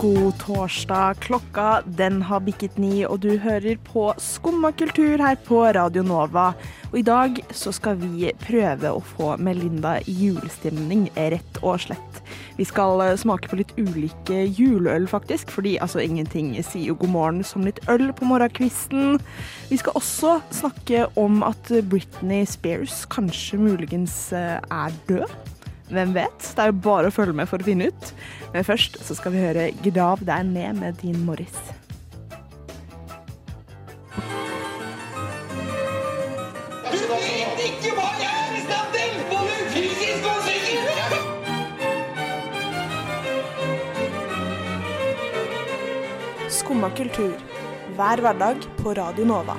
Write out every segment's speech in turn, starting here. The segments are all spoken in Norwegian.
God torsdag. Klokka den har bikket ni, og du hører på Skumma kultur her på Radio Nova. Og i dag så skal vi prøve å få Melinda i julestemning, rett og slett. Vi skal eh, smake på litt ulike juleøl, faktisk, fordi altså ingenting sier jo god morgen som litt øl på morgenkvisten. Vi skal også snakke om at Britney Spears kanskje muligens eh, er død. Hvem vet? Det er jo bare å følge med for å finne ut. Men først så skal vi høre 'Grav deg ned' med Dean Morris. Du vet ikke hva jeg er i stand til! Både fysisk og psykisk! Skumma kultur. Hver hverdag på Radio Nova.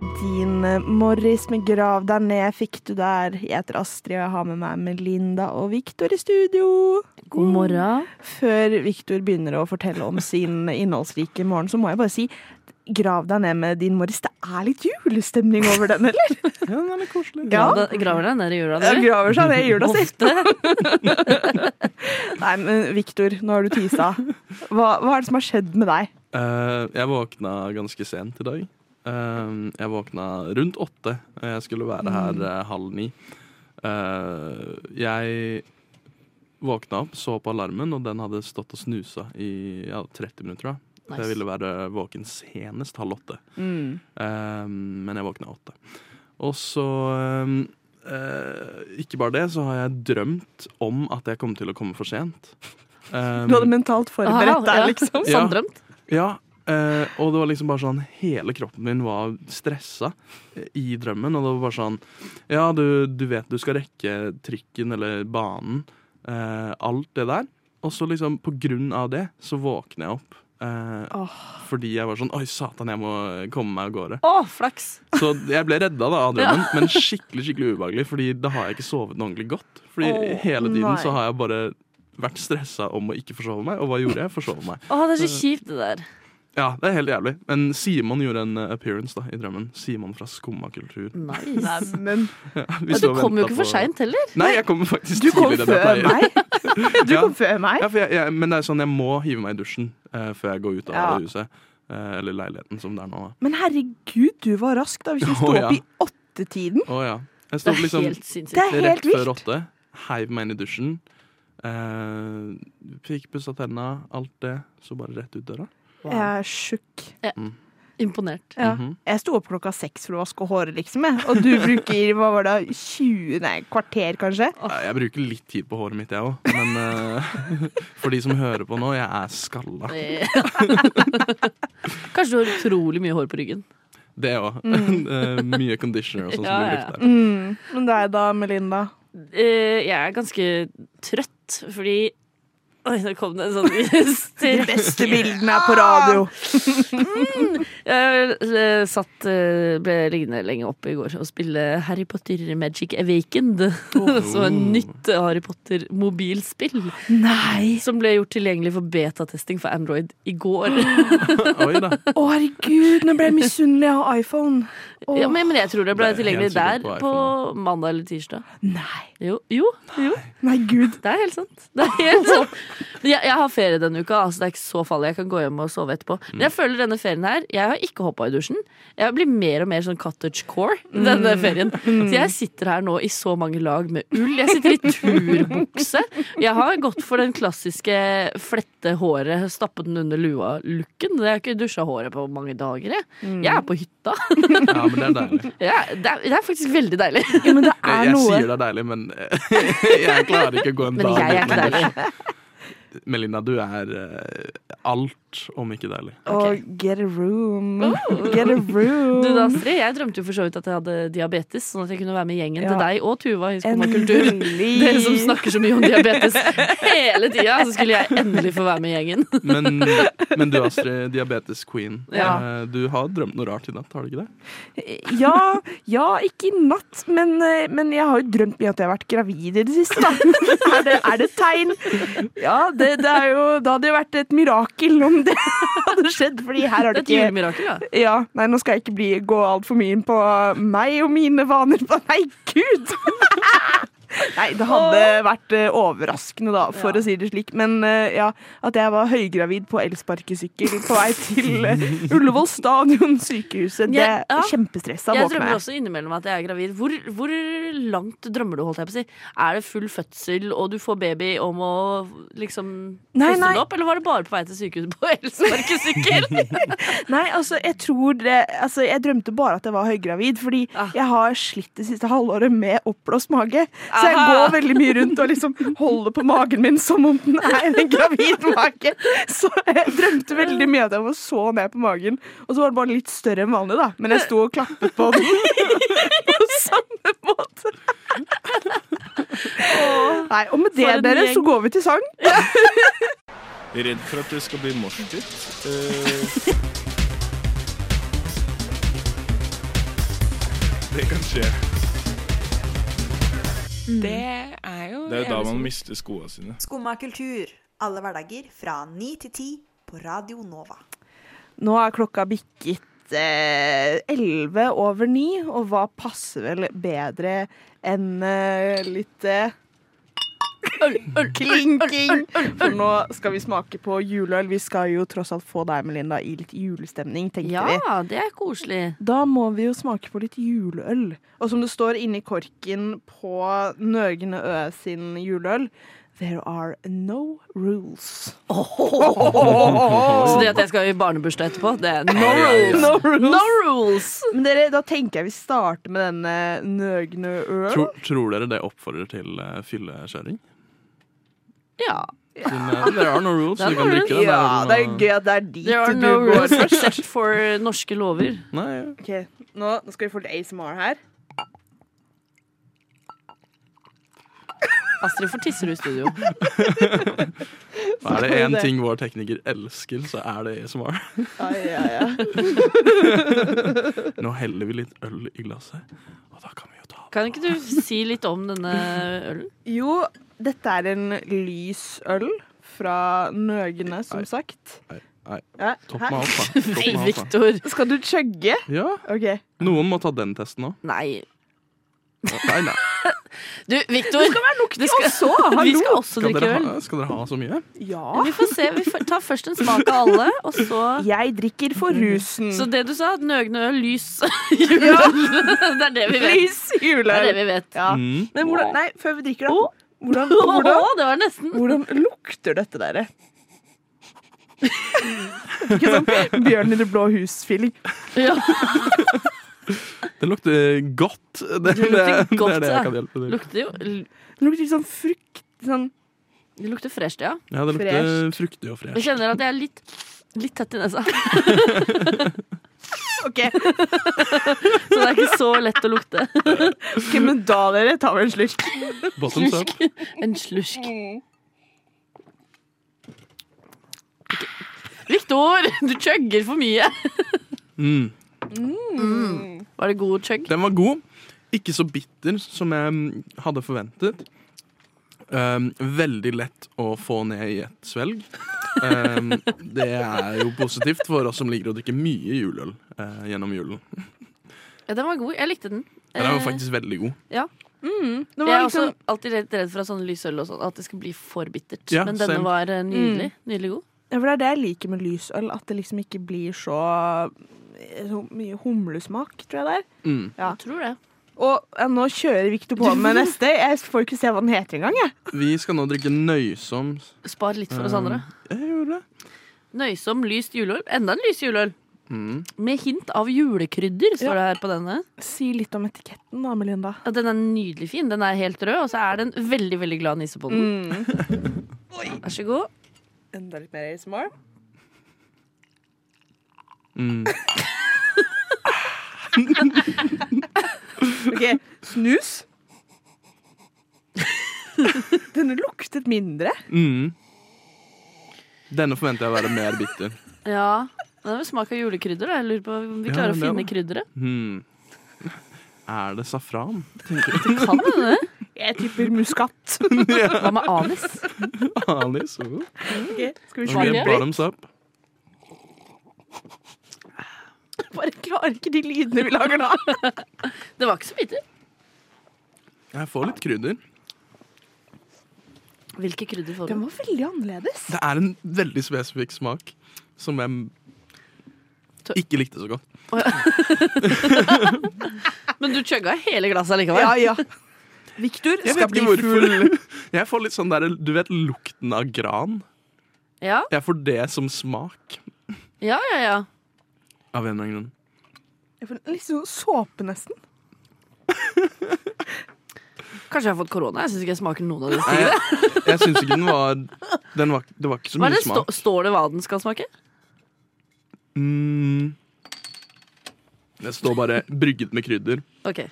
Dean eh, Morris med 'Grav deg ned' fikk du der. Jeg heter Astrid, og jeg har med meg Melinda og Victor i studio. Mm, God morgen. Før Victor begynner å fortelle om sin innholdsrike morgen, så må jeg bare si 'Grav deg ned med Dean Morris'. Det er litt julestemning over den, eller? Ja, den er litt koselig. Ja. Graver graver deg ned i jula, Jeg du? graver seg ned i jula si. Ofte. Nei, men Victor, nå har du tisa. Hva, hva er det som har skjedd med deg? Eh, jeg våkna ganske sent i dag. Eh, jeg våkna rundt åtte. og Jeg skulle Mm. være her eh, halv ni. Eh, jeg våkna opp, så på alarmen, og den hadde stått og snusa i ja, 30 minutter. da. Så Jeg Nice. ville være våken senest halv åtte. Mm. Eh, men jeg våkna åtte. Og så eh, eh, Ikke bare det, så har jeg drømt om at jeg kom til å komme for sent. Eh, Du hadde mentalt forberedt deg, ja. liksom. Ja. Sanndrømt. Ja, eh, og det var liksom bare sånn Hele kroppen min var stressa eh, i drømmen. Og det var bare sånn Ja, du, du vet du skal rekke trikken eller banen. Eh, alt det der. Og så liksom på grunn av det så våkner jeg opp. Eh, Fordi jeg var sånn Oi, satan, jeg må komme meg av gårde. Å, flaks! Så jeg ble redda da av drømmen, men skikkelig skikkelig ubehagelig. Fordi da har jeg ikke sovet noe ordentlig godt. Fordi Åh, hele tiden nei. så har jeg bare vært stressa om å ikke forsove meg. Og hva gjorde jeg? Forsov meg. Å, det er så kjipt, det der. Ja, det er helt jævlig. Men Simon gjorde en eh, appearance da, i drømmen. Simon fra Skumma kultur. Nice. Men Vi Ja, så du og kom jo ventet ikke for på- seint heller. Nei, jeg kommer faktisk du kom tidligere enn jeg før pleier. meg. Du Ja. kom før meg. Ja, for jeg, jeg, men det er sånn, jeg må hive meg i dusjen eh, før jeg går ut av Ja. det huset. Eh, eller leiligheten, som det er nå. da. Men herregud, du var rask da. Hvis du Å, sto opp ja. i åttetiden. Å ja. Jeg Det sto er opp liksom helt Det sinnssykt. er helt rett før vilt. åtte, heiv meg inn i dusjen. Eh, fikk pussa tenna, alt det. Så bare rett ut døra. Jeg er sjuk. Imponert. Ja. Mhm. Jeg sto opp klokka seks for å vaske håret, liksom. Jeg. Og du bruker hva var det, 20, nei, kvarter, kanskje? Eh, Jeg bruker litt tid på håret mitt, jeg òg. Men eh, for de som hører på nå, jeg er skalla. Eh. Kanskje du har utrolig mye hår på ryggen. Det òg. Mye conditioner og sånn som Ja, blir ja. brukt der. Men deg da, Melinda? Eh, jeg er ganske trøtt, fordi Oi, nå kom det en sånn De beste bildene er på radio. Jeg eh, satt, eh, ble liggende lenge oppe i går og spille Harry Potter Magic Awakened. Oh. Som er et nytt Harry Potter mobilspill. Ah, Nei! Som ble gjort tilgjengelig for betatesting for Android i går. Oi da. Å, herregud, nå ble jeg misunnelig. Jeg har iPhone. Å, Ja, men, men jeg tror det ble Det er tilgjengelig helt der sikkert på, på iPhone. mandag eller tirsdag. nei. Jo, jo, jo. Nei, gud. Det er helt sant. Det er helt sant. Jeg, jeg har ferie denne uka, altså det er ikke så farlig. Jeg kan gå hjem og sove etterpå. Men jeg føler denne ferien her Jeg har ikke hoppa i dusjen. Jeg blir mer og mer sånn cottage core denne ferien. Så jeg sitter her nå i så mange lag med ull. Jeg sitter i turbukse. Jeg har gått for den klassiske flette håret, stappe den under lua-looken. Jeg har ikke dusja håret på mange dager, jeg. Jeg er på hytta. Ja, men det er deilig. Jeg, det, er, det er faktisk veldig deilig. Jo, men det er Jeg, jeg noe sier det er deilig, men jeg klarer ikke å gå en Men dag jeg er ikke uten deilig. dusj. Melinda, du er eh, alt om ikke deilig. Og get a room. Get a room. Oh. Du da, Astrid, jeg drømte jo for så vidt at jeg hadde diabetes, sånn at jeg kunne være med gjengen Ja. til deg og Tuva i Skumma kultur. Dere som Endelig. snakker så mye om diabetes hele tida, så skulle jeg endelig få være med i gjengen. Men, men du, Astrid, diabetes queen. Ja. eh, Du har drømt noe rart i natt, har du ikke det? Ja, ja, ikke i natt, men, eh, men jeg har jo drømt mye at jeg har vært gravid i det siste, da. Er det, er det et tegn? Ja, det, det er jo, da hadde det jo vært et mirakel om det hadde skjedd, fordi her har det Det er et ikke julemirakel, da. ja, nei, nå skal jeg ikke bli, gå altfor mye inn på eh, meg og mine vaner. Nei, gud! Nei, det hadde vært eh, overraskende, da, for å si det slik. Men eh, ja, at jeg var høygravid på elsparkesykkel på vei til eh, Ullevål stadion sykehuset, det Ja, er ja. kjempestressa Jeg våkna drømmer jeg. også innimellom at jeg er gravid. Hvor, hvor langt drømmer du? holdt jeg på å si? Er det full fødsel, og du får baby og må liksom Nei, puste nei. den opp? Eller var det bare på vei til sykehuset på elsparkesykkel? Nei, altså, jeg tror det Altså, jeg drømte bare at jeg var høygravid, fordi Ah. jeg har slitt det siste halvåret med oppblåst mage. Så jeg Aha. går veldig mye rundt og liksom holder på magen min som om den er en gravid mage. Så jeg drømte veldig mye at jeg var så ned på magen. Og så var den bare litt større enn vanlig, da. Men jeg sto og klappet på den på samme måte. Nei, og med det, For en dere, gjeng. så går vi til sang. Redd for at det skal bli Eh. morsdytt. Det kan skje. Det er jo Det er jo da man mister skoene sine. Skumma kultur. Alle hverdager fra 9 til 10 på Radio Nova. Nå er klokka bikket eh, elleve over ni, og hva passer vel bedre enn eh, litt eh, Klinking! For nå skal vi smake på juleøl. Vi skal jo tross alt få deg, Melinda, i litt julestemning, tenkte ja, vi. det er koselig. Da må vi jo smake på litt juleøl. Og som det står inni korken på Nøgne Ø sin juleøl There are no rules. Så det at jeg skal i barnebursdag etterpå, det er no rules. No rules. No rules. Men dere, da tenker jeg vi starter med denne Nøgne Ø. Tror, tror dere det oppfordrer til eh, fyllekjøring? Ja. Siden, eh, There are no rules, Det så er du kan no drikke det. Ja, det er sånn, gøy at det er dit There are du no går rules først. except for norske lover. eh, Nei, ja. Ok, nå, nå skal vi få litt ASMR her. Astrid får tisser i studio. Er det én ting vår tekniker elsker, så er det ASMR. Ai, ja, ja. Nå heller vi litt øl i glasset, og da kan vi jo ta det. Kan ikke du si litt om denne ølen? Jo, dette er en lys øl fra Nøgne, som Nei. sagt. Nei, nei. Ja, Topp hæ? meg opp, da. Topp Nei, meg opp, da. Victor. Skal du chugge? Ja, Ok. noen må ta den testen òg. Nei. Nei, nei. Du, Victor. Det skal være nok til oss òg. Vi skal også Skal drikke dere, øl. ha, skal dere ha så mye? Ja. Vi får se. Vi får- tar først en smak av alle, og så Jeg drikker for rusen. Så det du sa, nøgne øl, lys, juleøl. Det er det vi vet. Lys Det er det juleøl. vi vet. Ja. Mm. Men hvordan, nei, før vi drikker da. Å. Hvordan, Å, hvordan, det var nesten hvordan lukter dette dere? Ikke sånn bjørn i det blå hus-feeling. ja. Det lukter godt. Det, det, lukter er- det godt, er det ja. jeg kan hjelpe til. Lukter jo Det Det lukter litt sånn frukt. Sånn lukter fresht, ja. Ja, det lukter fruktig og Jeg fresh. kjenner at jeg er litt Litt tett i nesa, så OK, det er ikke så lett å lukte. ok, men da dere tar vi en slurk. Bottoms up. En slusk. Ok. Victor, du chugger for mye. Mm. Var det god chugg? Den var god. Ikke så bitter som jeg mm, hadde forventet. Um, veldig lett å få ned i et svelg. Um, det er jo positivt for oss som liker å drikke mye juleøl eh, gjennom julen. Ja, den var god. Jeg likte den. Den er Eh, jo faktisk veldig god. Det Jeg var er liksom, også alltid redd, redd for sånn lysøl og sånn, at det skal bli for bittert. Ja, Men denne same. var eh, nydelig. Nydelig god. ja, for det er det jeg liker med lysøl, at det liksom ikke blir så, eh, så mye humlesmak, tror jeg det er. Mm. Ja. Jeg tror det. Og ja, nå kjører Victor på med neste. Jeg får ikke se hva den heter engang. jeg. Vi skal nå drikke nøysom Spar litt for oss Um, andre. Jeg gjorde det. Nøysom lyst juleøl. Enda en lys juleøl. Mm. Med hint av julekrydder, står Ja. det her på denne. Si litt om etiketten, da, Melinda. Ja, den er nydelig fin. Den er helt rød, og så er det en veldig veldig glad nisse på den. Mm. Vær så god. Enda litt mer ASMR. Mm. Ok, Snus. Den luktet mindre. Mm. Denne forventer jeg å være mer bitter. Ja. Den er vel smak av julekrydder. da. Jeg lurer på om vi Ja, klarer å det er finne det. krydderet. Mm. er det safran? Kan hende det. Jeg tipper muskat. Hva med anis? Anis? Oh. Skal vi se. Okay, Skjønner. bottoms up. Bare klarer ikke de lydene vi lager nå. Det var ikke så bitter. Jeg får litt krydder. Hvilke krydder får Den du? var veldig annerledes. Det er en veldig spesifikk smak som jeg ikke likte så godt. Men du chugga hele glasset likevel. Ja, ja. Victor Jeg skal vet bli ikke full. hvorfor. Jeg får litt sånn der, du vet lukten av gran? Ja, Jeg får det som smak. ja, ja. ja. Av en eller annen grunn. Jeg får Litt sånn såpe, nesten. Kanskje jeg har fått korona. Jeg syns ikke jeg smaker noen av de Nei, tingene. jeg jeg syns ikke den var, den var Det var ikke så Hva er mye det? Stå, smak. står det hva den skal smake? Mm. Det står bare 'brygget med krydder'. OK.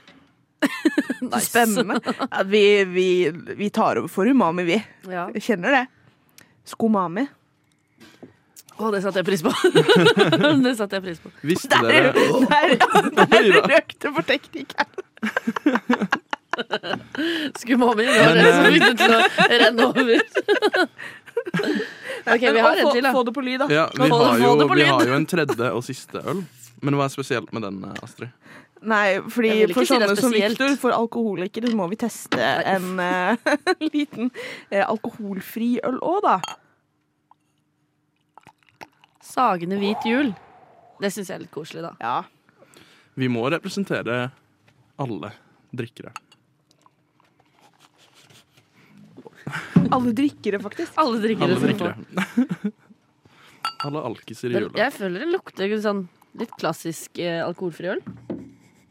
Så Spennende. Ja, vi, vi, vi tar over for umami, vi. Ja. Jeg kjenner det. Skomami. Å, det satte jeg pris på. det satte jeg pris på. Visste Der, dere der, der Oi da. røk det for teknikk her. Skumami. Det var Men, det som fikk det til å renne over. OK, vi har en til, da. Få det på lyd, da. ja, vi, Få det- har få jo, det på vi lyd. har jo en tredje og siste øl. Men hva er spesielt med den, eh, Astrid? Nei, Jeg fordi vil ikke for si det er sånne som spesielt. Victor, for alkoholikere, så må vi teste en eh, liten eh, alkoholfri øl òg, da. Sagende hvit jul. Det syns jeg er litt koselig, da. Ja. Vi må representere alle drikkere. Alle drikkere, faktisk. Alle drikker Alle det. som drikkere. får. Alle alkiser i jula. Jeg føler det lukter sånn litt klassisk eh, alkoholfri øl.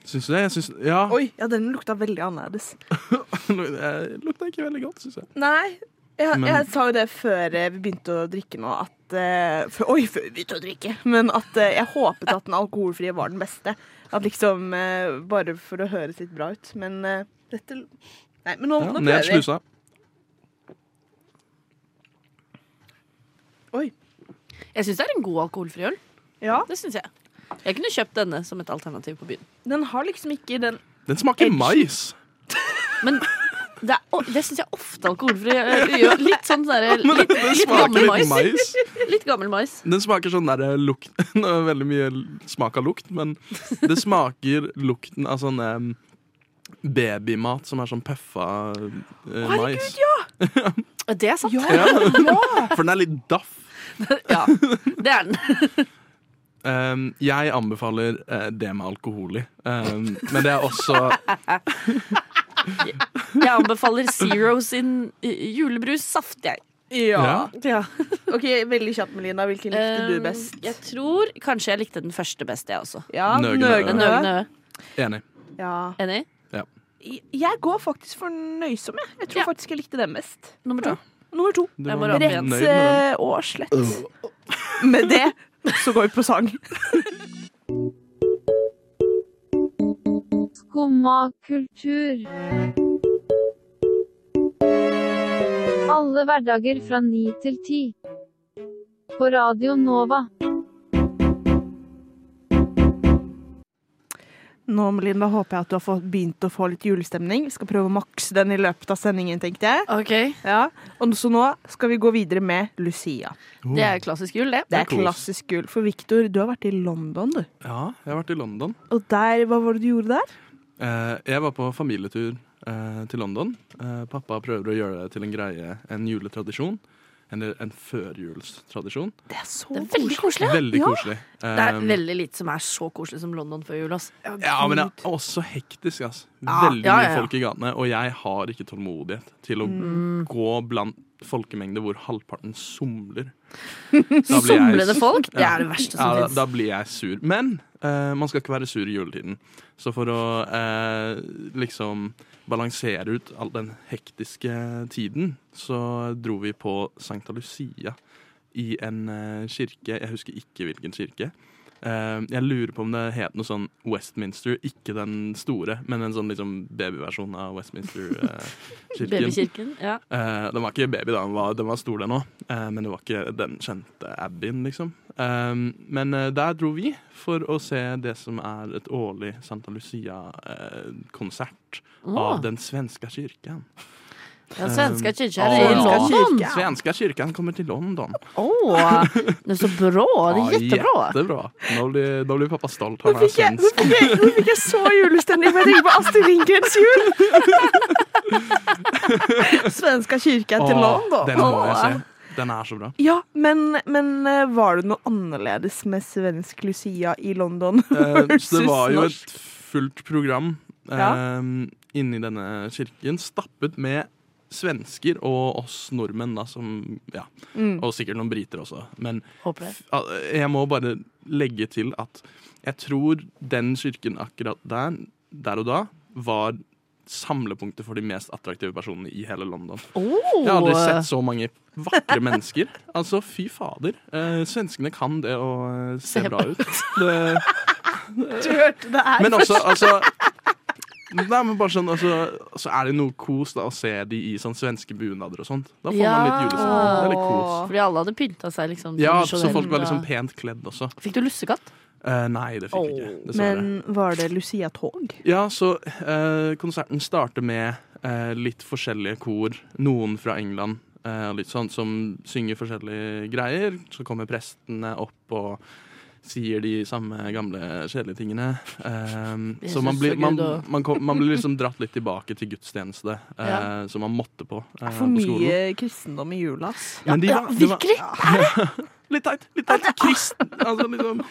Syns du det? Jeg syns, ja. Oi, ja, den lukta veldig annerledes. Det lukta ikke veldig godt, syns jeg. Nei, jeg, Men- jeg sa jo det før eh, vi begynte å drikke nå, at eh, før- Oi, før vi begynte å drikke! Men at eh, jeg håpet at den alkoholfrie var den beste. At liksom eh, Bare for å høres litt bra ut. Men eh, dette Nei, men nå, Ja, nå ned prøver vi. slusa. Oi. Jeg syns det er en god alkoholfri øl. Ja, Det synes jeg. Jeg kunne kjøpt denne som et alternativ på byen. den har liksom ikke den Den smaker Edgy. mais. Men det, er, å- det syns jeg ofte alkoholfri øl gjør. Litt sånn der, Men litt, den, den litt smaker gammel litt mais. mais. Litt gammel mais. Den smaker sånn der lukt Nå er det Veldig mye smak av lukt, men det smaker lukten av sånn em, babymat som er sånn pøffa eh, mais. Det er sant. Ja. Ja. For den er litt daff. det er den. Em, jeg anbefaler eh, det med alkohol i, Em, men det er også Jeg anbefaler Zero sin eh, julebrus saft, jeg. Ja. OK, veldig kjapt, Melina. Hvilken likte du Um, best? Jeg tror kanskje jeg likte den første best, jeg også. Ja, Nøgne nøgne. Den øvne. Enig. Ja. Enig? Jeg- Jeg går faktisk for nøysom, jeg. Jeg tror Ja. faktisk jeg likte den best. Nummer to. Nummer to. Du Jeg var bare nøyd opp med Rett den. eh, og slett. Med det så går vi på sang. Skumma kultur. Alle hverdager fra ni til ti. På Radio Nova. Nå Melinda, håper jeg at du har fått, begynt å få litt julestemning. Vi skal prøve å makse den i løpet av sendingen, tenkte jeg. Ok, Ja. Og så nå skal vi gå videre med Lucia. Det er klassisk jul, det. Det er er kos. klassisk jul. For Victor, du har vært i London, du. Ja, jeg har vært i London. Og der, hva var det du gjorde der? Eh, jeg var på familietur eh, til London. Eh, pappa prøver å gjøre det til en greie, en juletradisjon. Eller en førjulstradisjon. Det er så Det er veldig koselig. ja. Veldig Ja. koselig. Det er Eh, veldig lite som er så koselig som London før jul. Ass. ja, men det er også hektisk. ass. Ja, Veldig ja, ja, ja. mye folk i gatene, og jeg har ikke tålmodighet til å Mm. gå blant folkemengder hvor halvparten somler. Da blir jeg- Somlende folk, det Ja. er det verste Ja, som da, finnes da blir jeg sur. Men eh, man skal ikke være sur i juletiden. Så for å eh, liksom balansere ut all den hektiske tiden, så dro vi på Sankta Lucia i en eh, kirke Jeg husker ikke hvilken kirke. Eh, jeg lurer på om det het noe sånn Westminster, ikke den store, men en sånn liksom babyversjon av eh, Westminster-kirken. Babykirken. Ja. Eh, den var ikke baby, da. Den var, den var stor, den òg. men det var ikke den kjente Abbyen, liksom. Eh, men eh, der dro vi for å se det som er et årlig Santa Lucia-konsert eh, Åh. av den svenska kyrkan. Den svenska Eh, kyrkan ja, är i ja. London. Svenska kyrkan kommer til London. Åh, det är så bra. Det Ah, är Ja, jättebra. jättebra. Nå blir, nå blir pappa stolt. Nå Han er fikk, jeg, nå, svensk. fikk jeg, nå fikk jeg så julestemning for jeg tenker på Astrid Lindgrens jul! Svenska kirken til Åh, London. Den må jeg Åh. se. Den er så bra. Ja, men, men eh, var det noe annerledes med svensk Lucia i London? Eh, Så det var jo Versus et fullt program eh, Ja. inni denne kirken, stappet med svensker og oss nordmenn, da, som Ja. Mm. Og sikkert noen briter også. Men Håper det. f- al- jeg må bare legge til at jeg tror den kirken akkurat der, der og da, var samlepunktet for de mest attraktive personene i hele London. Jeg har aldri eh, sett så mange vakre mennesker. Altså, fy fader. Eh, svenskene kan det å eh, se Se bra bra ut. Det, Du hørte det her. men også, altså Nei, men bare sånn, altså Så er det noe kos da å se de i sånn svenske bunader og sånt. Da får man litt julestemning. Det er litt kos. Fordi alle hadde pynta seg liksom Ja, så tradisjonell, folk var liksom da. pent kledd også. Fikk du lussekatt? Eh, nei, det fikk jeg ikke. Dessverre. Men var det Lucia-tog? Ja, så eh, konserten starter med eh, litt forskjellige kor. Noen fra England eh, og litt sånn, som synger forskjellige greier. Så kommer prestene opp og sier de samme gamle kjedelige tingene. Eh, Jesus så man blir, og man, Gud og- man, kom, man blir liksom dratt litt tilbake til gudstjeneste, eh, Ja. som man måtte på. eh, For på skolen. mye kristendom i jula, ass. Men de Ja, var- de var- virkelig! Litt teit. Litt teit. Krist, altså liksom,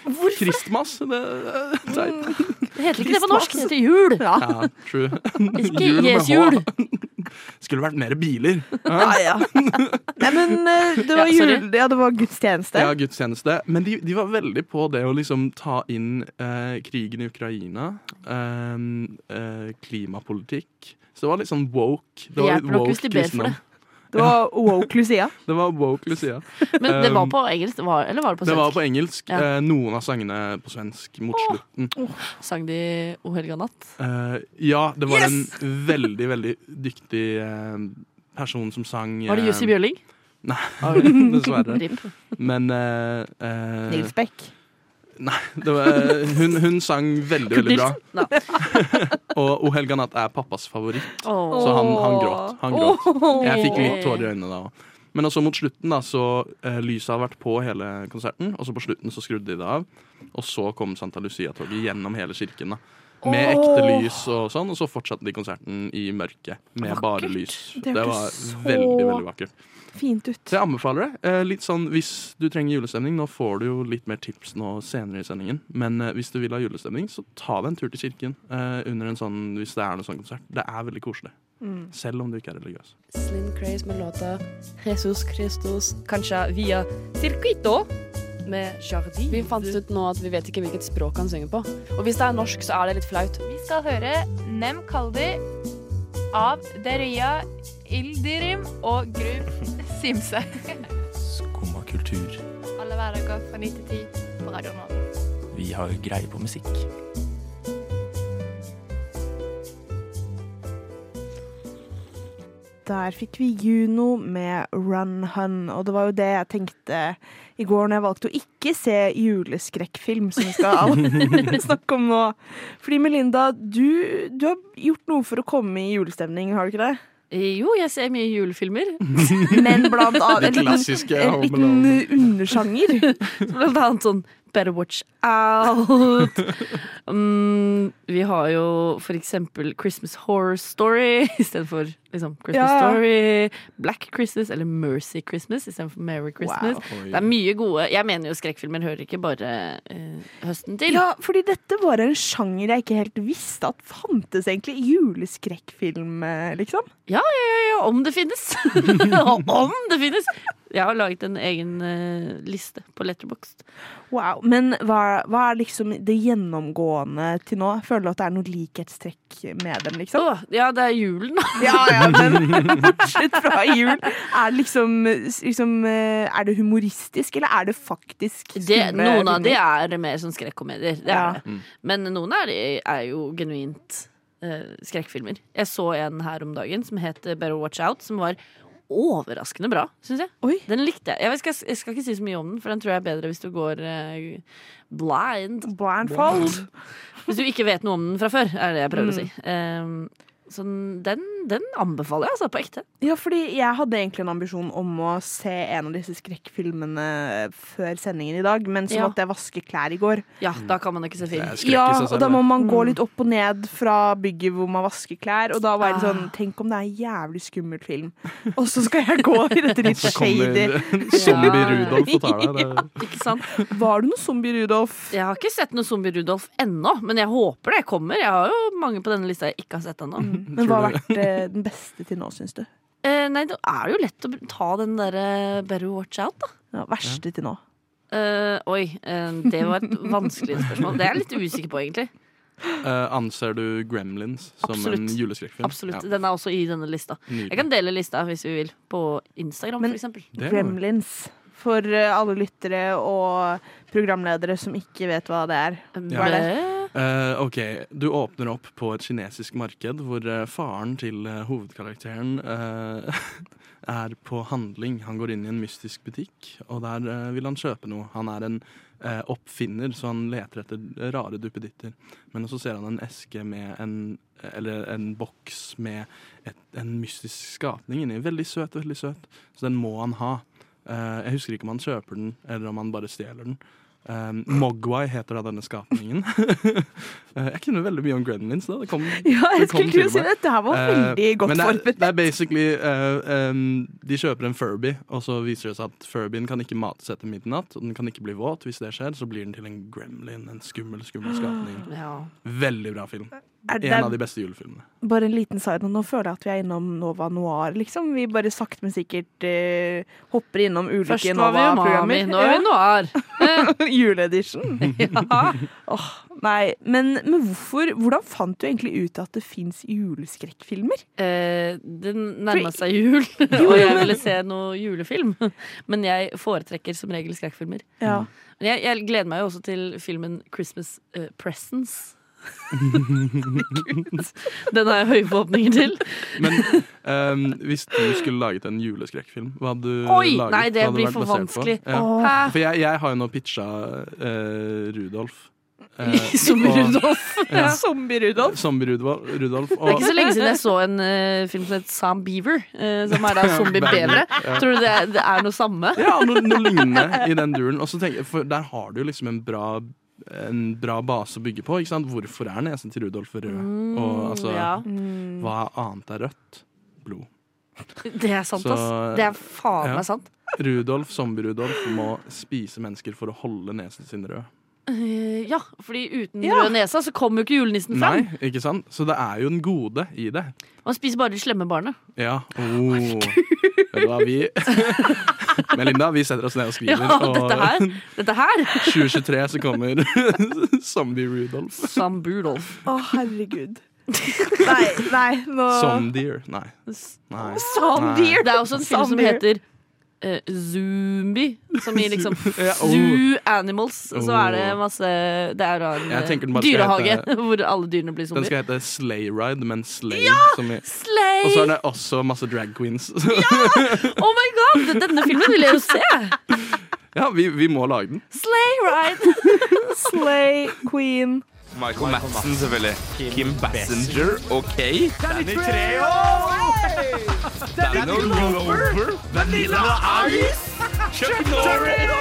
Kristmass. Det, er teit. Det heter ikke det på norsk. Det heter jul. Ja, true. Ikke Jul med Jesu H. jul. Skulle vært mer biler. Nei, ja. Nei, men eh, det var Ja, sorry. jul... Ja, det var gudstjeneste. Ja, gudstjeneste. Men de, de var veldig på det å liksom ta inn eh, krigen i Ukraina, eh, eh, klimapolitikk. Så det var litt sånn woke. Det Det var hjelper litt nok woke hvis de ber for kristendom. Det var woke Lucia. Det var woke Lucia. Men det var Um, på engelsk, det var, eller var det på Det var svensk? på engelsk. Ja. Eh, noen av sangene på svensk mot slutten. Sang de O helga natt? Eh, ja, det var en veldig, veldig dyktig eh, person som sang Var det eh, Jussi Bjørling? Dessverre. Rip. Men eh, eh, Nils Beck. det var, eh, hun, hun sang veldig, veldig bra. Nilsen? Ja. Og O helga natt er pappas favoritt, Åh. så han, han gråt. Han gråt. Jeg fikk Åh. litt tårer i øynene da òg. Men også mot slutten, da, så eh, lyset har vært på hele konserten, og så på slutten så skrudde de det av. Og så kom Santa Lucia-toget gjennom hele kirken, da. Med ekte lys og sånn, og så fortsatte de konserten i mørket med bare Vakkert. lys. Det Det hørtes var så- veldig, veldig vakkert. Fint ut. Så jeg anbefaler det. Eh, litt sånn, Hvis du trenger julestemning, nå får du jo litt mer tips nå senere i sendingen. Men eh, hvis du vil ha julestemning, så ta deg en tur til kirken eh, under en sånn, hvis det er noen sånn konsert. Det er veldig koselig. Mm. Selv om du ikke er religiøs. Slim Craze med låta Jesus Christus, kanskje via Circuito med Jardi. Vi fant ut nå at vi vet ikke hvilket språk han synger på. Og hvis det er norsk, så er det litt flaut. Vi skal høre Nem Kaldi av Deria Ildirim og Grub Simse. Skumma kultur. Alle hverdager fra 9 til 10 på Radio Nova. Vi har greie på musikk. Der fikk vi Juno med Run Hun, og det var jo det jeg tenkte i går når jeg valgte å ikke se juleskrekkfilm, som vi skal snakke om nå. Fordi Melinda, du, du har gjort noe for å komme i julestemning, har du ikke det? Jo, jeg ser mye julefilmer. Men blant annet en klassiske liten, en Home liten undersjanger. Blant annet sånn Better watch out. Mm, vi har jo for eksempel Christmas Horror Story istedenfor liksom Christmas Ja. Story. Black Christmas eller Mercy Christmas istedenfor Merry Christmas. Oi. Det er mye gode Jeg mener jo skrekkfilmer hører ikke bare eh, høsten til. Ja, fordi dette var en sjanger jeg ikke helt visste at fantes egentlig. Juleskrekkfilm, eh, liksom. Ja, ja, ja, om det finnes. om det finnes. Jeg har laget en egen eh, liste på Letterboxd. Wow. Men hva, hva er liksom det gjennomgående til nå? Føler du at det er noe likhetstrekk med dem, liksom? ja, det er julen, da. Ja, ja, men bortsett fra jul. Er det liksom, liksom eh, Er det humoristisk, eller er det faktisk Det, skumle noen av de humor? er mer sånn skrekkomedier. Det Ja. er det. Men noen av de er jo genuint eh, skrekkfilmer. Jeg så en her om dagen som het Better Watch Out, som var overraskende bra, syns jeg. Den likte jeg. Jeg, vet, skal, jeg skal ikke si så mye om den, for den tror jeg er bedre hvis du går eh, blind. Blindfold. Hvis du ikke vet noe om den fra før, er det jeg prøver å si. Mm. Ehm, så den, den anbefaler jeg, altså, på ekte. Ja, fordi jeg hadde egentlig en ambisjon om å se en av disse skrekkfilmene før sendingen i dag, men så Ja. måtte jeg vaske klær i går. Ja, da kan man ikke se film. Ja, og da må man gå litt opp og ned fra bygget hvor man vasker klær, og da var jeg litt sånn Tenk om det er en jævlig skummel film, og så skal jeg gå i dette litt Så kommer shady zombie-Rudolf og tar deg. Det- Ikke sant? Var det noe Zombie-Rudolf? Jeg har ikke sett noe Zombie-Rudolf ennå, men jeg håper det kommer. Jeg har jo mange på denne lista jeg ikke har sett ennå. Men hva har vært eh, den beste til nå, syns du? Eh, nei, det er jo lett å br- ta den derre eh, Better watch out, da. Ja, verste til nå? Eh, oi, eh, det var et vanskelig spørsmål. Det er jeg litt usikker på, egentlig. Eh, anser du Gremlins som en Absolutt. juleskrekkfilm? Absolutt. Ja. Den er også i denne lista. Nydelig. Jeg kan dele lista hvis vi vil, på Instagram, Men for eksempel. Gremlins. For eh, alle lyttere og programledere som ikke vet hva det er. Hva er det? Eh, ok, Du åpner opp på et kinesisk marked hvor eh, faren til eh, hovedkarakteren eh, er på handling. Han går inn i en mystisk butikk, og der eh, vil han kjøpe noe. Han er en eh, oppfinner, så han leter etter rare duppeditter. Men så ser han en eske med en eller en boks med et, en mystisk skapning inni. Veldig søt, veldig søt. Så den må han ha. Eh, jeg husker ikke om han kjøper den, eller om han bare stjeler den. Um, Mogwai heter da denne skapningen. Eh, jeg kunne veldig mye om Gremlins. Da. Det kom, Ja, jeg det kom skulle til til å si meg. det. Dette her var Eh, veldig godt men det er, Det er basically eh, um, De kjøper en Furby, og så viser det seg at Furbyen kan ikke mates etter midnatt. Og den kan ikke bli våt. Hvis det skjer, så blir den til en gremlin. En skummel, skummel skapning. Ja. Veldig bra film. Er det- En av de beste julefilmene. Bare en liten side note. Nå føler jeg at vi er innom Nova Noir, liksom. Vi bare sakte, men sikkert eh, hopper innom ulike Først var vi umami, Nova-programmer. nå er vi noir. noir. Juleedition. Åh, nei, men, men hvorfor Hvordan fant du egentlig ut at det fins juleskrekkfilmer? Eh, det nærma For- seg jul, Jo, og jeg men- ville se noe julefilm. Men jeg foretrekker som regel skrekkfilmer. Ja. Men jeg, jeg gleder meg jo også til filmen 'Christmas eh, Presents'. Den har jeg høye forhåpninger til. Men ehm, hvis du skulle laget en juleskrekkfilm, hva hadde du Oi, laget? nei, det Hva hadde blir vært for basert på? vanskelig. Ja. Åh. For jeg, jeg har jo nå pitcha eh, Rudolf. Eh, Som Rudolf. Ja. Zombie-Rudolf. Zombie-Rudolf. Rudolf, Det er og- ikke så lenge siden jeg så en eh, film som het Sam Beaver, eh, som er da zombie-bevere. Ja. Tror du det er, det er noe samme? Ja, noe, noe lignende i den duren. Og så tenker jeg, for der har du jo liksom en bra en bra base å bygge på. ikke sant? Hvorfor er nesen til Rudolf rød? Mm, og altså, ja. hva annet er rødt? Blod. Det er sant, Så- ass. Det er faen Ja. meg sant. Rudolf, zombie-Rudolf, må spise mennesker for å holde nesen sin rød. Eh, ja, fordi uten Ja. rød nesa så kommer jo ikke julenissen fram. Nei, ikke sant? Så det er jo den gode i det. Man spiser bare de slemme barna. Ja. Oh. Vet du hva, vi Melinda, vi setter oss ned og Ja, skriver. dette her. Dette her. Og 2023 så kommer Zombie Rudolf. Sam Budolf. Å, herregud. nei, nei, nå Somdeer. Nei. Nei. Somdeer. Det er også en film som Zombie. heter eh, Zombie. Som i liksom Ja, oh. Zoo Animals. Så Oh. er det masse Det er da en Jeg tenker eh, den bare skal dyrehage hete- hvor alle dyrene blir Den zombier. skal hete Slay Ride, men Slay Ja! som i Slay! Og så er det også masse drag queens. Oh my god! Denne filmen vil jeg jo se! ja, vi, vi må lage den. Slay ride! Slay queen. Michael Madsen, selvfølgelig. Kim Bassinger, OK. Danny Trejo! Danny Glover! Vanilla Ice! Chuck Norris!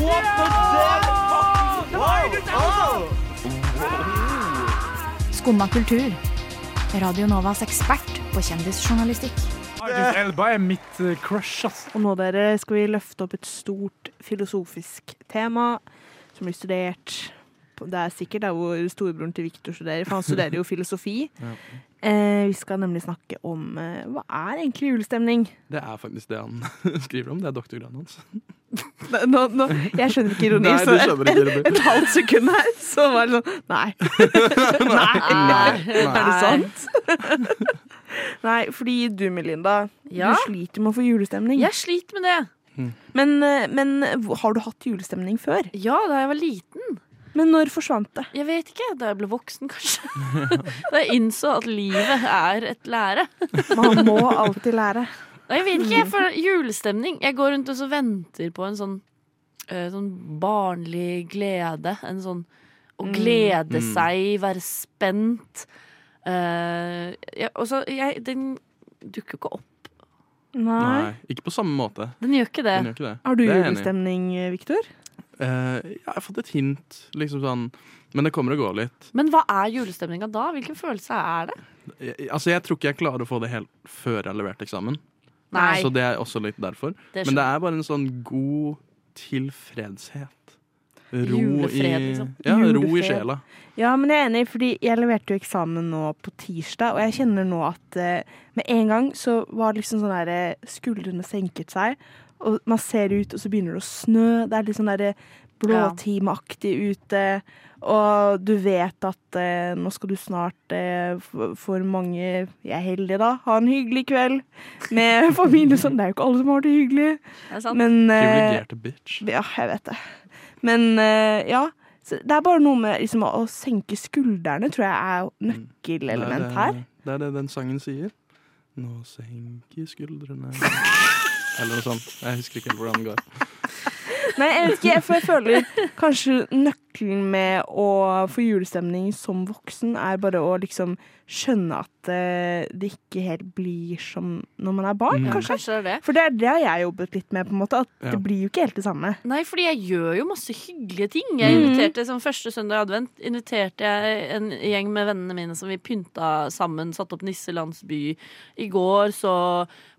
What the fuck? Skumma kultur. Radio Novas ekspert på kjendisjournalistikk. Idris Elba er mitt eh, crush, ass. Og nå dere skal vi løfte opp et stort filosofisk tema som blir studert på Det er sikkert der hvor storebroren til Viktor studerer, for han studerer jo filosofi. Ja. Eh, vi skal nemlig snakke om eh, hva er egentlig julestemning? Det er faktisk det han skriver om. Det er doktorgraden hans. Nå, nå, nå, jeg skjønner ikke ironi, Nei, du så et, skjønner ikke et, ironi. et halvt sekund her, så var det sånn Nei. Nei. Er det sant? Nei, fordi du, Melinda, Ja? du sliter med å få julestemning. Jeg sliter med det. Men, eh, men har du hatt julestemning før? Ja, da jeg var liten. Men når forsvant det? Jeg vet ikke. Da jeg ble voksen, kanskje. Da jeg innså at livet er et lære. Man må alltid lære. Nei, Jeg vet ikke, jeg føler julestemning. Jeg går rundt og så venter på en sånn, eh, sånn barnlig glede. En sånn å Mm. glede Mm. seg, være spent. Eh, jeg, og så jeg, Den dukker jo ikke opp. Nei, ikke på samme måte. Den gjør ikke det. Den gjør ikke det. Eh, Har du Det er jeg enig i. julestemning, Viktor? Eh, ja, jeg har fått et hint, liksom sånn. Men det kommer og går litt. Men hva er julestemninga da? Hvilken følelse er det? Jeg, altså, jeg tror ikke jeg klarer å få det helt før jeg har levert eksamen. Nei. Så det er også litt derfor. Det Men det skjønner er bare en sånn god tilfredshet. Julefred, i, liksom. Ja, ro i Julefred. sjela. Ja, men jeg er enig, fordi jeg leverte jo eksamen nå på tirsdag, og jeg kjenner nå at eh, med en gang så var det liksom sånn der eh, skuldrene senket seg, og man ser ut, og så begynner det å snø, det er litt sånn der eh, blåtimeaktig ute, og du vet at eh, nå skal du snart, eh, f- for mange, jeg er heldig da, ha en hyggelig kveld med familie, sånn, det er jo ikke alle som har det hyggelig. Det er sant. Men, eh, Privilegerte bitch. Ja, jeg vet det. Men eh, ja. Så det er bare noe med liksom, å senke skuldrene, tror jeg er nøkkelelement det, her. Det er det den sangen sier. Nå senker skuldrene Eller noe sånt. Jeg husker ikke helt hvordan den går. Nei, jeg vet ikke, for jeg føler kanskje nøkkelen med å få julestemning som voksen er bare å liksom skjønne at eh, det ikke helt blir som når man er barn, Mm. kanskje. Kanskje det er det. For det er det har jeg jobbet litt med, på en måte. At Ja. det blir jo ikke helt det samme. Nei, fordi jeg gjør jo masse hyggelige ting. Jeg Mm. inviterte som Første søndag i advent inviterte jeg en gjeng med vennene mine som vi pynta sammen. Satte opp nisselandsby. I går så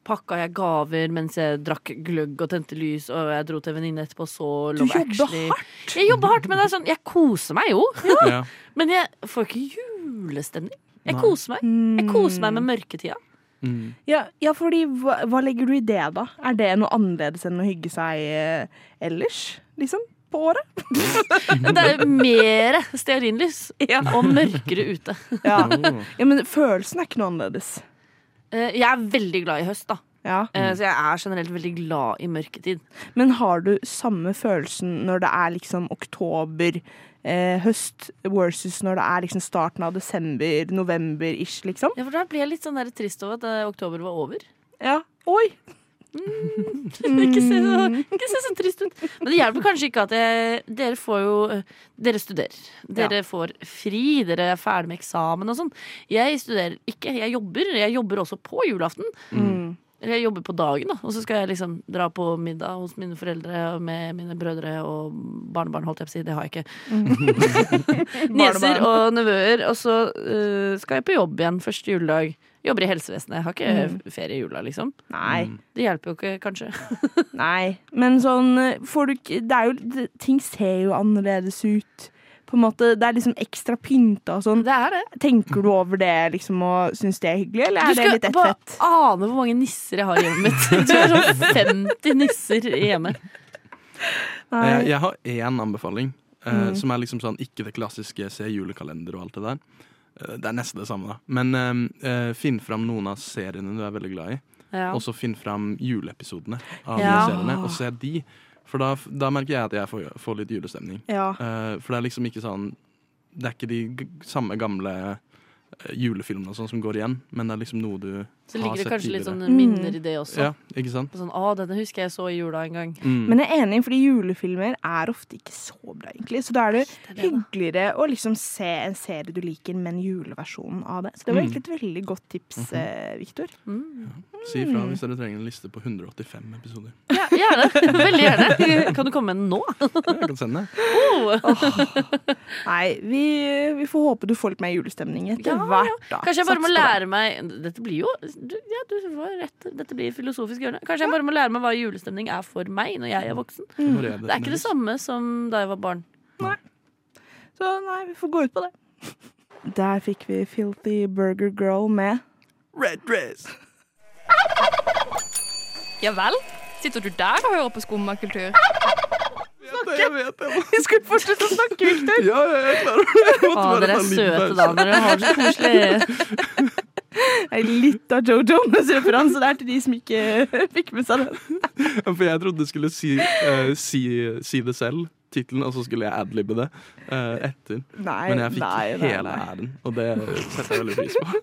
pakka jeg gaver mens jeg drakk gløgg og tente lys, og jeg dro til en venninne etterpå og så Du Love jobber Actually. Hardt. Jeg jobber hardt, men det er sånn, jeg koser meg jo. Ja. Men jeg får ikke julestemning. Jeg Nei. Mm. koser meg. Jeg koser meg med mørketida. Ja, ja fordi hva, hva legger du i det, da? Er det noe annerledes enn å hygge seg eh, ellers? Liksom? På året? Det er mer stearinlys og mørkere ute. Ja. ja, men følelsen er ikke noe annerledes. Eh, Jeg er veldig glad i høst, da. Eh, Mm. Så jeg er generelt veldig glad i mørketid. Men har du samme følelsen når det er liksom oktober, eh, høst versus når det er liksom starten av desember, november-ish, liksom? Ja, for da blir jeg litt sånn der trist over at eh, oktober var over. Ja. Oi! ikke, se så, ikke se så trist ut. Men det hjelper kanskje ikke at jeg, dere får jo Dere studerer. Dere Ja. får fri, dere er ferdig med eksamen og sånn. Jeg studerer ikke, jeg jobber. Jeg jobber også på julaften. Mm. Eller jeg jobber på dagen, da. Og så skal jeg liksom dra på middag hos mine foreldre med mine brødre og barnebarn, holdt jeg på å si. Det har jeg ikke. Nieser og nevøer. Og så eh, skal jeg på jobb igjen første juledag. Jobber i helsevesenet. Jeg har ikke Mm. eh, ferie i jula, liksom. Nei. Det hjelper jo ikke, kanskje. Nei, men sånn eh, får du, ikke- det er jo, det, Ting ser jo annerledes ut. På en måte, det er liksom ekstra pynta og sånn. Tenker du over det liksom, og syns det er hyggelig, eller er Du det skal litt ett bare fett? ane hvor mange nisser jeg har i hjemmet mitt. Du har sånn 50 nisser i hjemmet. Nei. Jeg, jeg har én anbefaling, eh, Mm. som er liksom sånn ikke det klassiske se julekalender og alt det der. Eh, det er nesten det samme, da. Men eh, eh, finn fram noen av seriene du er veldig glad i. Ja. Og så finn fram juleepisodene av Ja. de seriene, og se de. For da, da merker jeg at jeg får, får litt julestemning. Ja. Eh, for det er liksom ikke sånn Det er ikke de g samme gamle eh, julefilmene og sånn som går igjen, men det er liksom noe du Så har ligger det sett kanskje litt tidligere. Mm. sånn minner i det også. Ja, ikke sant? Sånn, å, denne husker jeg så i jula en gang. Mm. Men jeg er enig, fordi julefilmer er ofte ikke så bra, egentlig. Så da er det hyggeligere å liksom se en serie du liker, men juleversjonen av det. Så det var Mm. egentlig et veldig godt tips, Mhm. eh, Viktor. Si ifra hvis dere trenger en liste på 185 episoder. Ja, gjerne. Veldig gjerne. Kan du komme med den nå? Jeg kan sende det. Nei, vi, vi får håpe du får litt mer julestemning etter Ja, hvert, da. Kanskje jeg bare må Sats på det. lære meg Dette blir jo du, ja, du var rett. Dette blir filosofisk hjørne. Kanskje jeg bare må lære meg hva julestemning er for meg når jeg er voksen. Mm. Det er ikke det samme som da jeg var barn. Så nei, vi får gå ut på det. Der fikk vi Filthy Burger Girl med Red dress. Ja vel? Sitter du der og hører på skummakultur? Jeg vet det. Vi skulle fortsette å snakke, Victor. Ja, ja, jeg klarer det. Jeg måtte Å, dere bare er ta en liten søte, pause. da. Dere har det så koselig. Det er Litt av Joe Jonas-referanse der til de som ikke fikk med seg den. Ja, For jeg trodde du skulle si, eh, si, si det selv, tittelen, og så skulle jeg adlibbe det eh, etter. Nei, Men jeg fikk nei, nei, hele nei. æren, og det setter jeg veldig pris på.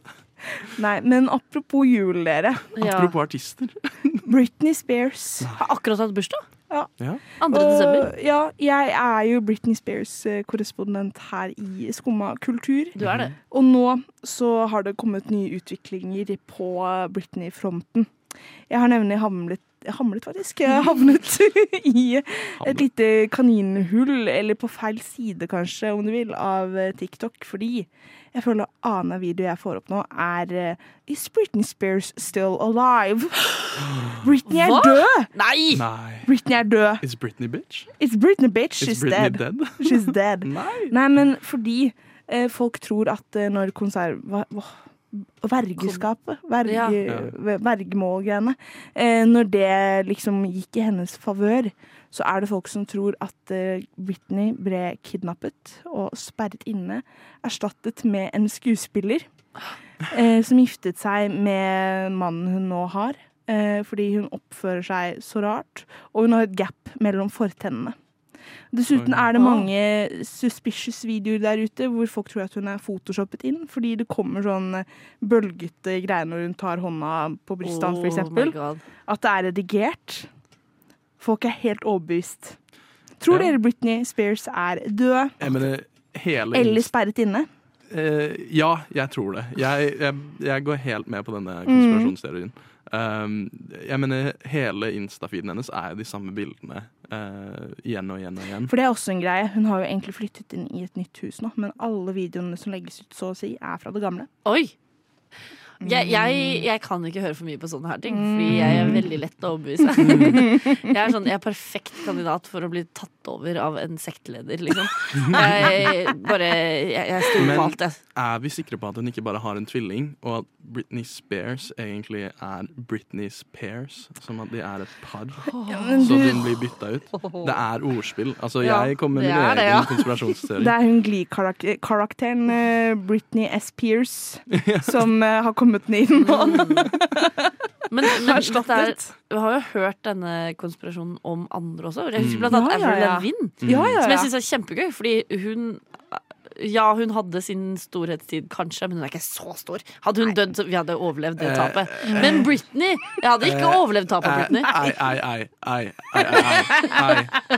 Nei, men apropos jul, dere. Apropos artister. Britney Spears. Har akkurat hatt bursdag. Ja. Ja. Andre Og, desember. Ja, jeg er jo Britney Spears-korrespondent her i Skumma kultur. Du er det. Og nå så har det kommet nye utviklinger på Britney-fronten. Jeg har nemlig hamlet Hamlet, faktisk. Jeg har havnet i et lite kaninhull, eller på feil side, kanskje, om du vil, av TikTok. Fordi jeg føler annen video jeg får opp nå, er eh, Is Britney Spears still alive? Britney er Hva? død! Nei! Britney er død. Is Britney bitch? It's Britney, bitch. Is She's Britney dead. dead? She's dead. Nei. men fordi eh, folk tror at eh, når konserv... Hva, åh, vergeskapet, verge, Ja. ve- vergemålgreiene, eh, når det liksom gikk i hennes favør, så er det folk som tror at eh, Britney ble kidnappet og sperret inne, erstattet med en skuespiller eh, som giftet seg med mannen hun nå har, eh, fordi hun oppfører seg så rart, og hun har et gap mellom fortennene. Dessuten er det mange suspicious videoer der ute hvor folk tror at hun er photoshoppet inn, fordi det kommer sånn bølgete greier når hun tar hånda på brystet hans, Oh for my eksempel. God. At det er redigert. Folk er helt overbevist. Tror Ja. dere Britney Spears er død Jeg mener, hele eller sperret inne? Eh, ja, jeg tror det. Jeg, jeg, jeg går helt med på Mm. denne konspirasjonsteorien. Um, jeg mener, hele Insta-feeden hennes er jo de samme bildene eh, igjen og igjen og igjen. For det er også en greie. Hun har jo egentlig flyttet inn i et nytt hus nå, men alle videoene som legges ut, så å si, er fra det gamle. Oi! Jeg, jeg, Mm. jeg kan ikke høre for mye på sånne her ting, fordi jeg er veldig lett å overbevise. Mm. Jeg er, sånn, jeg er perfekt kandidat for å bli tatt over av en sektleder, liksom. Jeg, bare, jeg, jeg stoler på alt, jeg. er vi sikre på at hun ikke bare har en tvilling, og at Britney Spears egentlig er Britney Spears? Som at de er et par? Ja, men Så du- hun blir bytta ut? Det er ordspill. Altså, Ja, jeg kommer med det min er egen det, ja. konspirasjonsteori. Det er hun Glee-karakteren eh, Britney S. Pierce som eh, har kommet ned inn nå. Men, men Erstattet. dette er, vi har jo hørt denne konspirasjonen om andre også. Jeg husker blant Ja, annet ja, Avril ja. Lavigne, Ja, ja, som ja. jeg syns er kjempegøy. Fordi hun Ja, hun hadde sin storhetstid, kanskje, men hun er ikke så stor. Hadde hun dødd, så vi hadde overlevd det Eh, tapet. Men Britney! Jeg hadde ikke Eh, overlevd tapet av Nei, Britney. nei, nei, nei, nei, nei.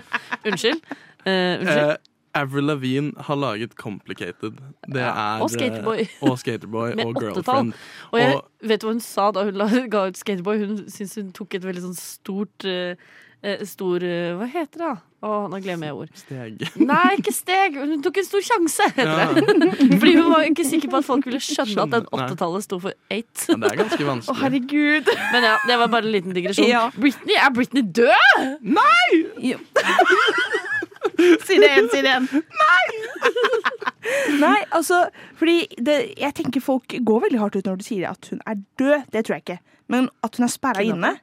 Unnskyld. Eh, unnskyld. Eh, Avril Lavigne har laget 'Complicated'. Det er, og Skaterboy. eh, Og, Skaterboy Med og åttetall. Girlfriend. Og jeg Og- vet du hva hun sa da hun la, ga ut Skateboy? Hun syntes hun tok et veldig sånn stort eh, eh, Stor eh, Hva heter det? da? Å, nå glemmer jeg ord. Steg. Nei, ikke steg. Hun tok en stor sjanse, heter det. Fordi hun var ikke sikker på at folk ville skjønne at den åttetallet sto for eight. Men det er ganske vanskelig. Å, herregud. Men ja, det var bare en liten digresjon. Ja. Britney, er Britney død?! Nei! Si det igjen, si det igjen. Nei! Nei, altså, fordi det, jeg tenker folk går veldig hardt ut når du sier at hun er død. Det tror jeg ikke. Men at hun er sperra inne?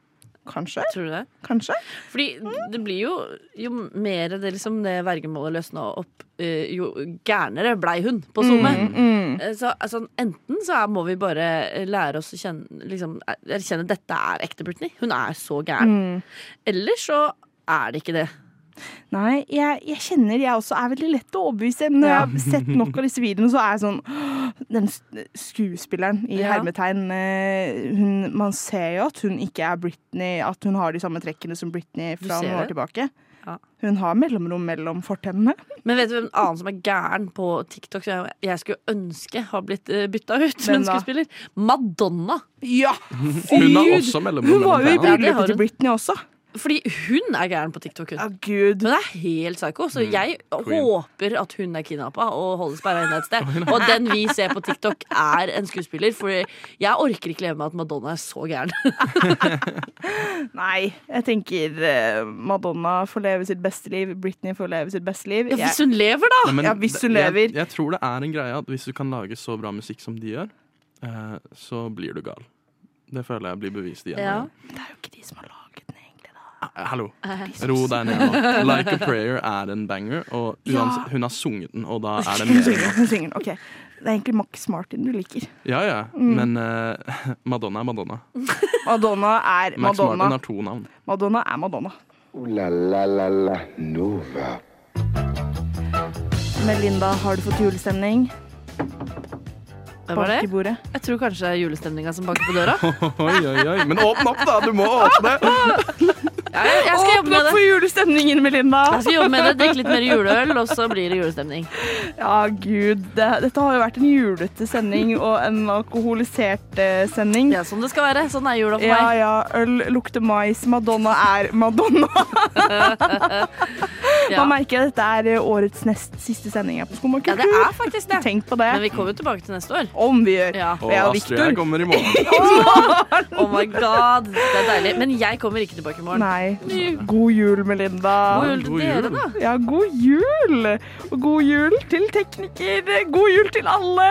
Kanskje? Tror du det? Kanskje? Fordi det blir jo Jo mer det, liksom, det vergemålet løsna opp, eh, jo gærnere blei hun på SoMe. Mm, Eh, Så altså, enten så er, må vi bare eh, lære oss å kjenne liksom, erkjenne at dette er ekte Britney. Hun er så gæren. Mm. Eller så er det ikke det. Nei, jeg, jeg kjenner jeg også er veldig lett å overbevise. Når jeg har sett nok av disse videoene, så er jeg sånn «Åh, Den s- skuespilleren i Ja. hermetegn eh, hun, Man ser jo at hun ikke er Britney, at hun har de samme trekkene som Britney Du fra ser noen år det. tilbake. Ja. Hun har mellomrom mellom fortennene. Men vet du hvem annen som er gæren på TikTok som jeg, jeg skulle ønske har blitt uh, bytta ut som Hvem en da? skuespiller? Madonna! Ja! Hun har også mellomrom Hun var jo i mellom tennene. bryllupet til Britney også. Fordi hun er gæren på TikTok. Hun. Hun er helt psycho. Så jeg Queen. håper at hun er kidnappa og holdes sperra inne et sted. Og den vi ser på TikTok, er en skuespiller. For jeg orker ikke leve med at Madonna er så gæren. Nei, jeg tenker eh, Madonna får leve sitt beste liv, Britney får leve sitt beste liv. Ja, hvis hun lever, da! Nei, men ja, hvis hun det- lever. Jeg, jeg tror det er en greie at hvis du kan lage så bra musikk som de gjør, eh, så blir du gal. Det føler jeg blir bevist igjen. Ja. Det er jo ikke de som har laget Eh, Hallo. Eh. Ro deg ned nå. 'Like a Prayer' er en banger, og Ja. uans- hun har sunget den, og da er det Hun synger, mer. hun synger. Ok, det er egentlig Max Martin du liker. Ja, ja. Mm. Men eh, Madonna er Madonna. Madonna er Max Martin Madonna. har to navn. Madonna er Madonna. Ooh la la la la Nova. Melinda, har du fått julestemning? Hvem var det? Bak i bordet. Jeg tror kanskje det er julestemninga som banker på døra. Oi, oi, oi. Men åpne opp, da! Du må åpne! jeg, jeg skal jobbe med det. for julestemningen, Melinda! Jeg skal jobbe med det, Drikke litt mer juleøl, og så blir det julestemning. Ja, gud. Det, dette har jo vært en julete sending og en alkoholisert eh, sending. Ja, sånn det skal være. Sånn er jula for Ja, meg. ja. Øl lukter mais. Madonna er Madonna. Ja. Man merker at dette er eh, årets nest siste sending her på Skum og Ja, kultur. det er faktisk det. Tenk på det. Men vi kommer jo tilbake til neste år. Om vi gjør. Ja. Og Astrid her kommer i morgen. Oh my god, det er deilig. Men jeg kommer ikke tilbake i morgen. Nei. God jul, Melinda. God jul til God dere, jul. da. Ja, god jul. Og god jul til tekniker. God jul til alle.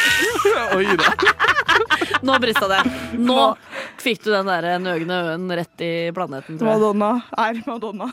Oi da. Nå brista det. Nå fikk du den der nøgne øen rett i planeten, tror jeg. Madonna er Madonna.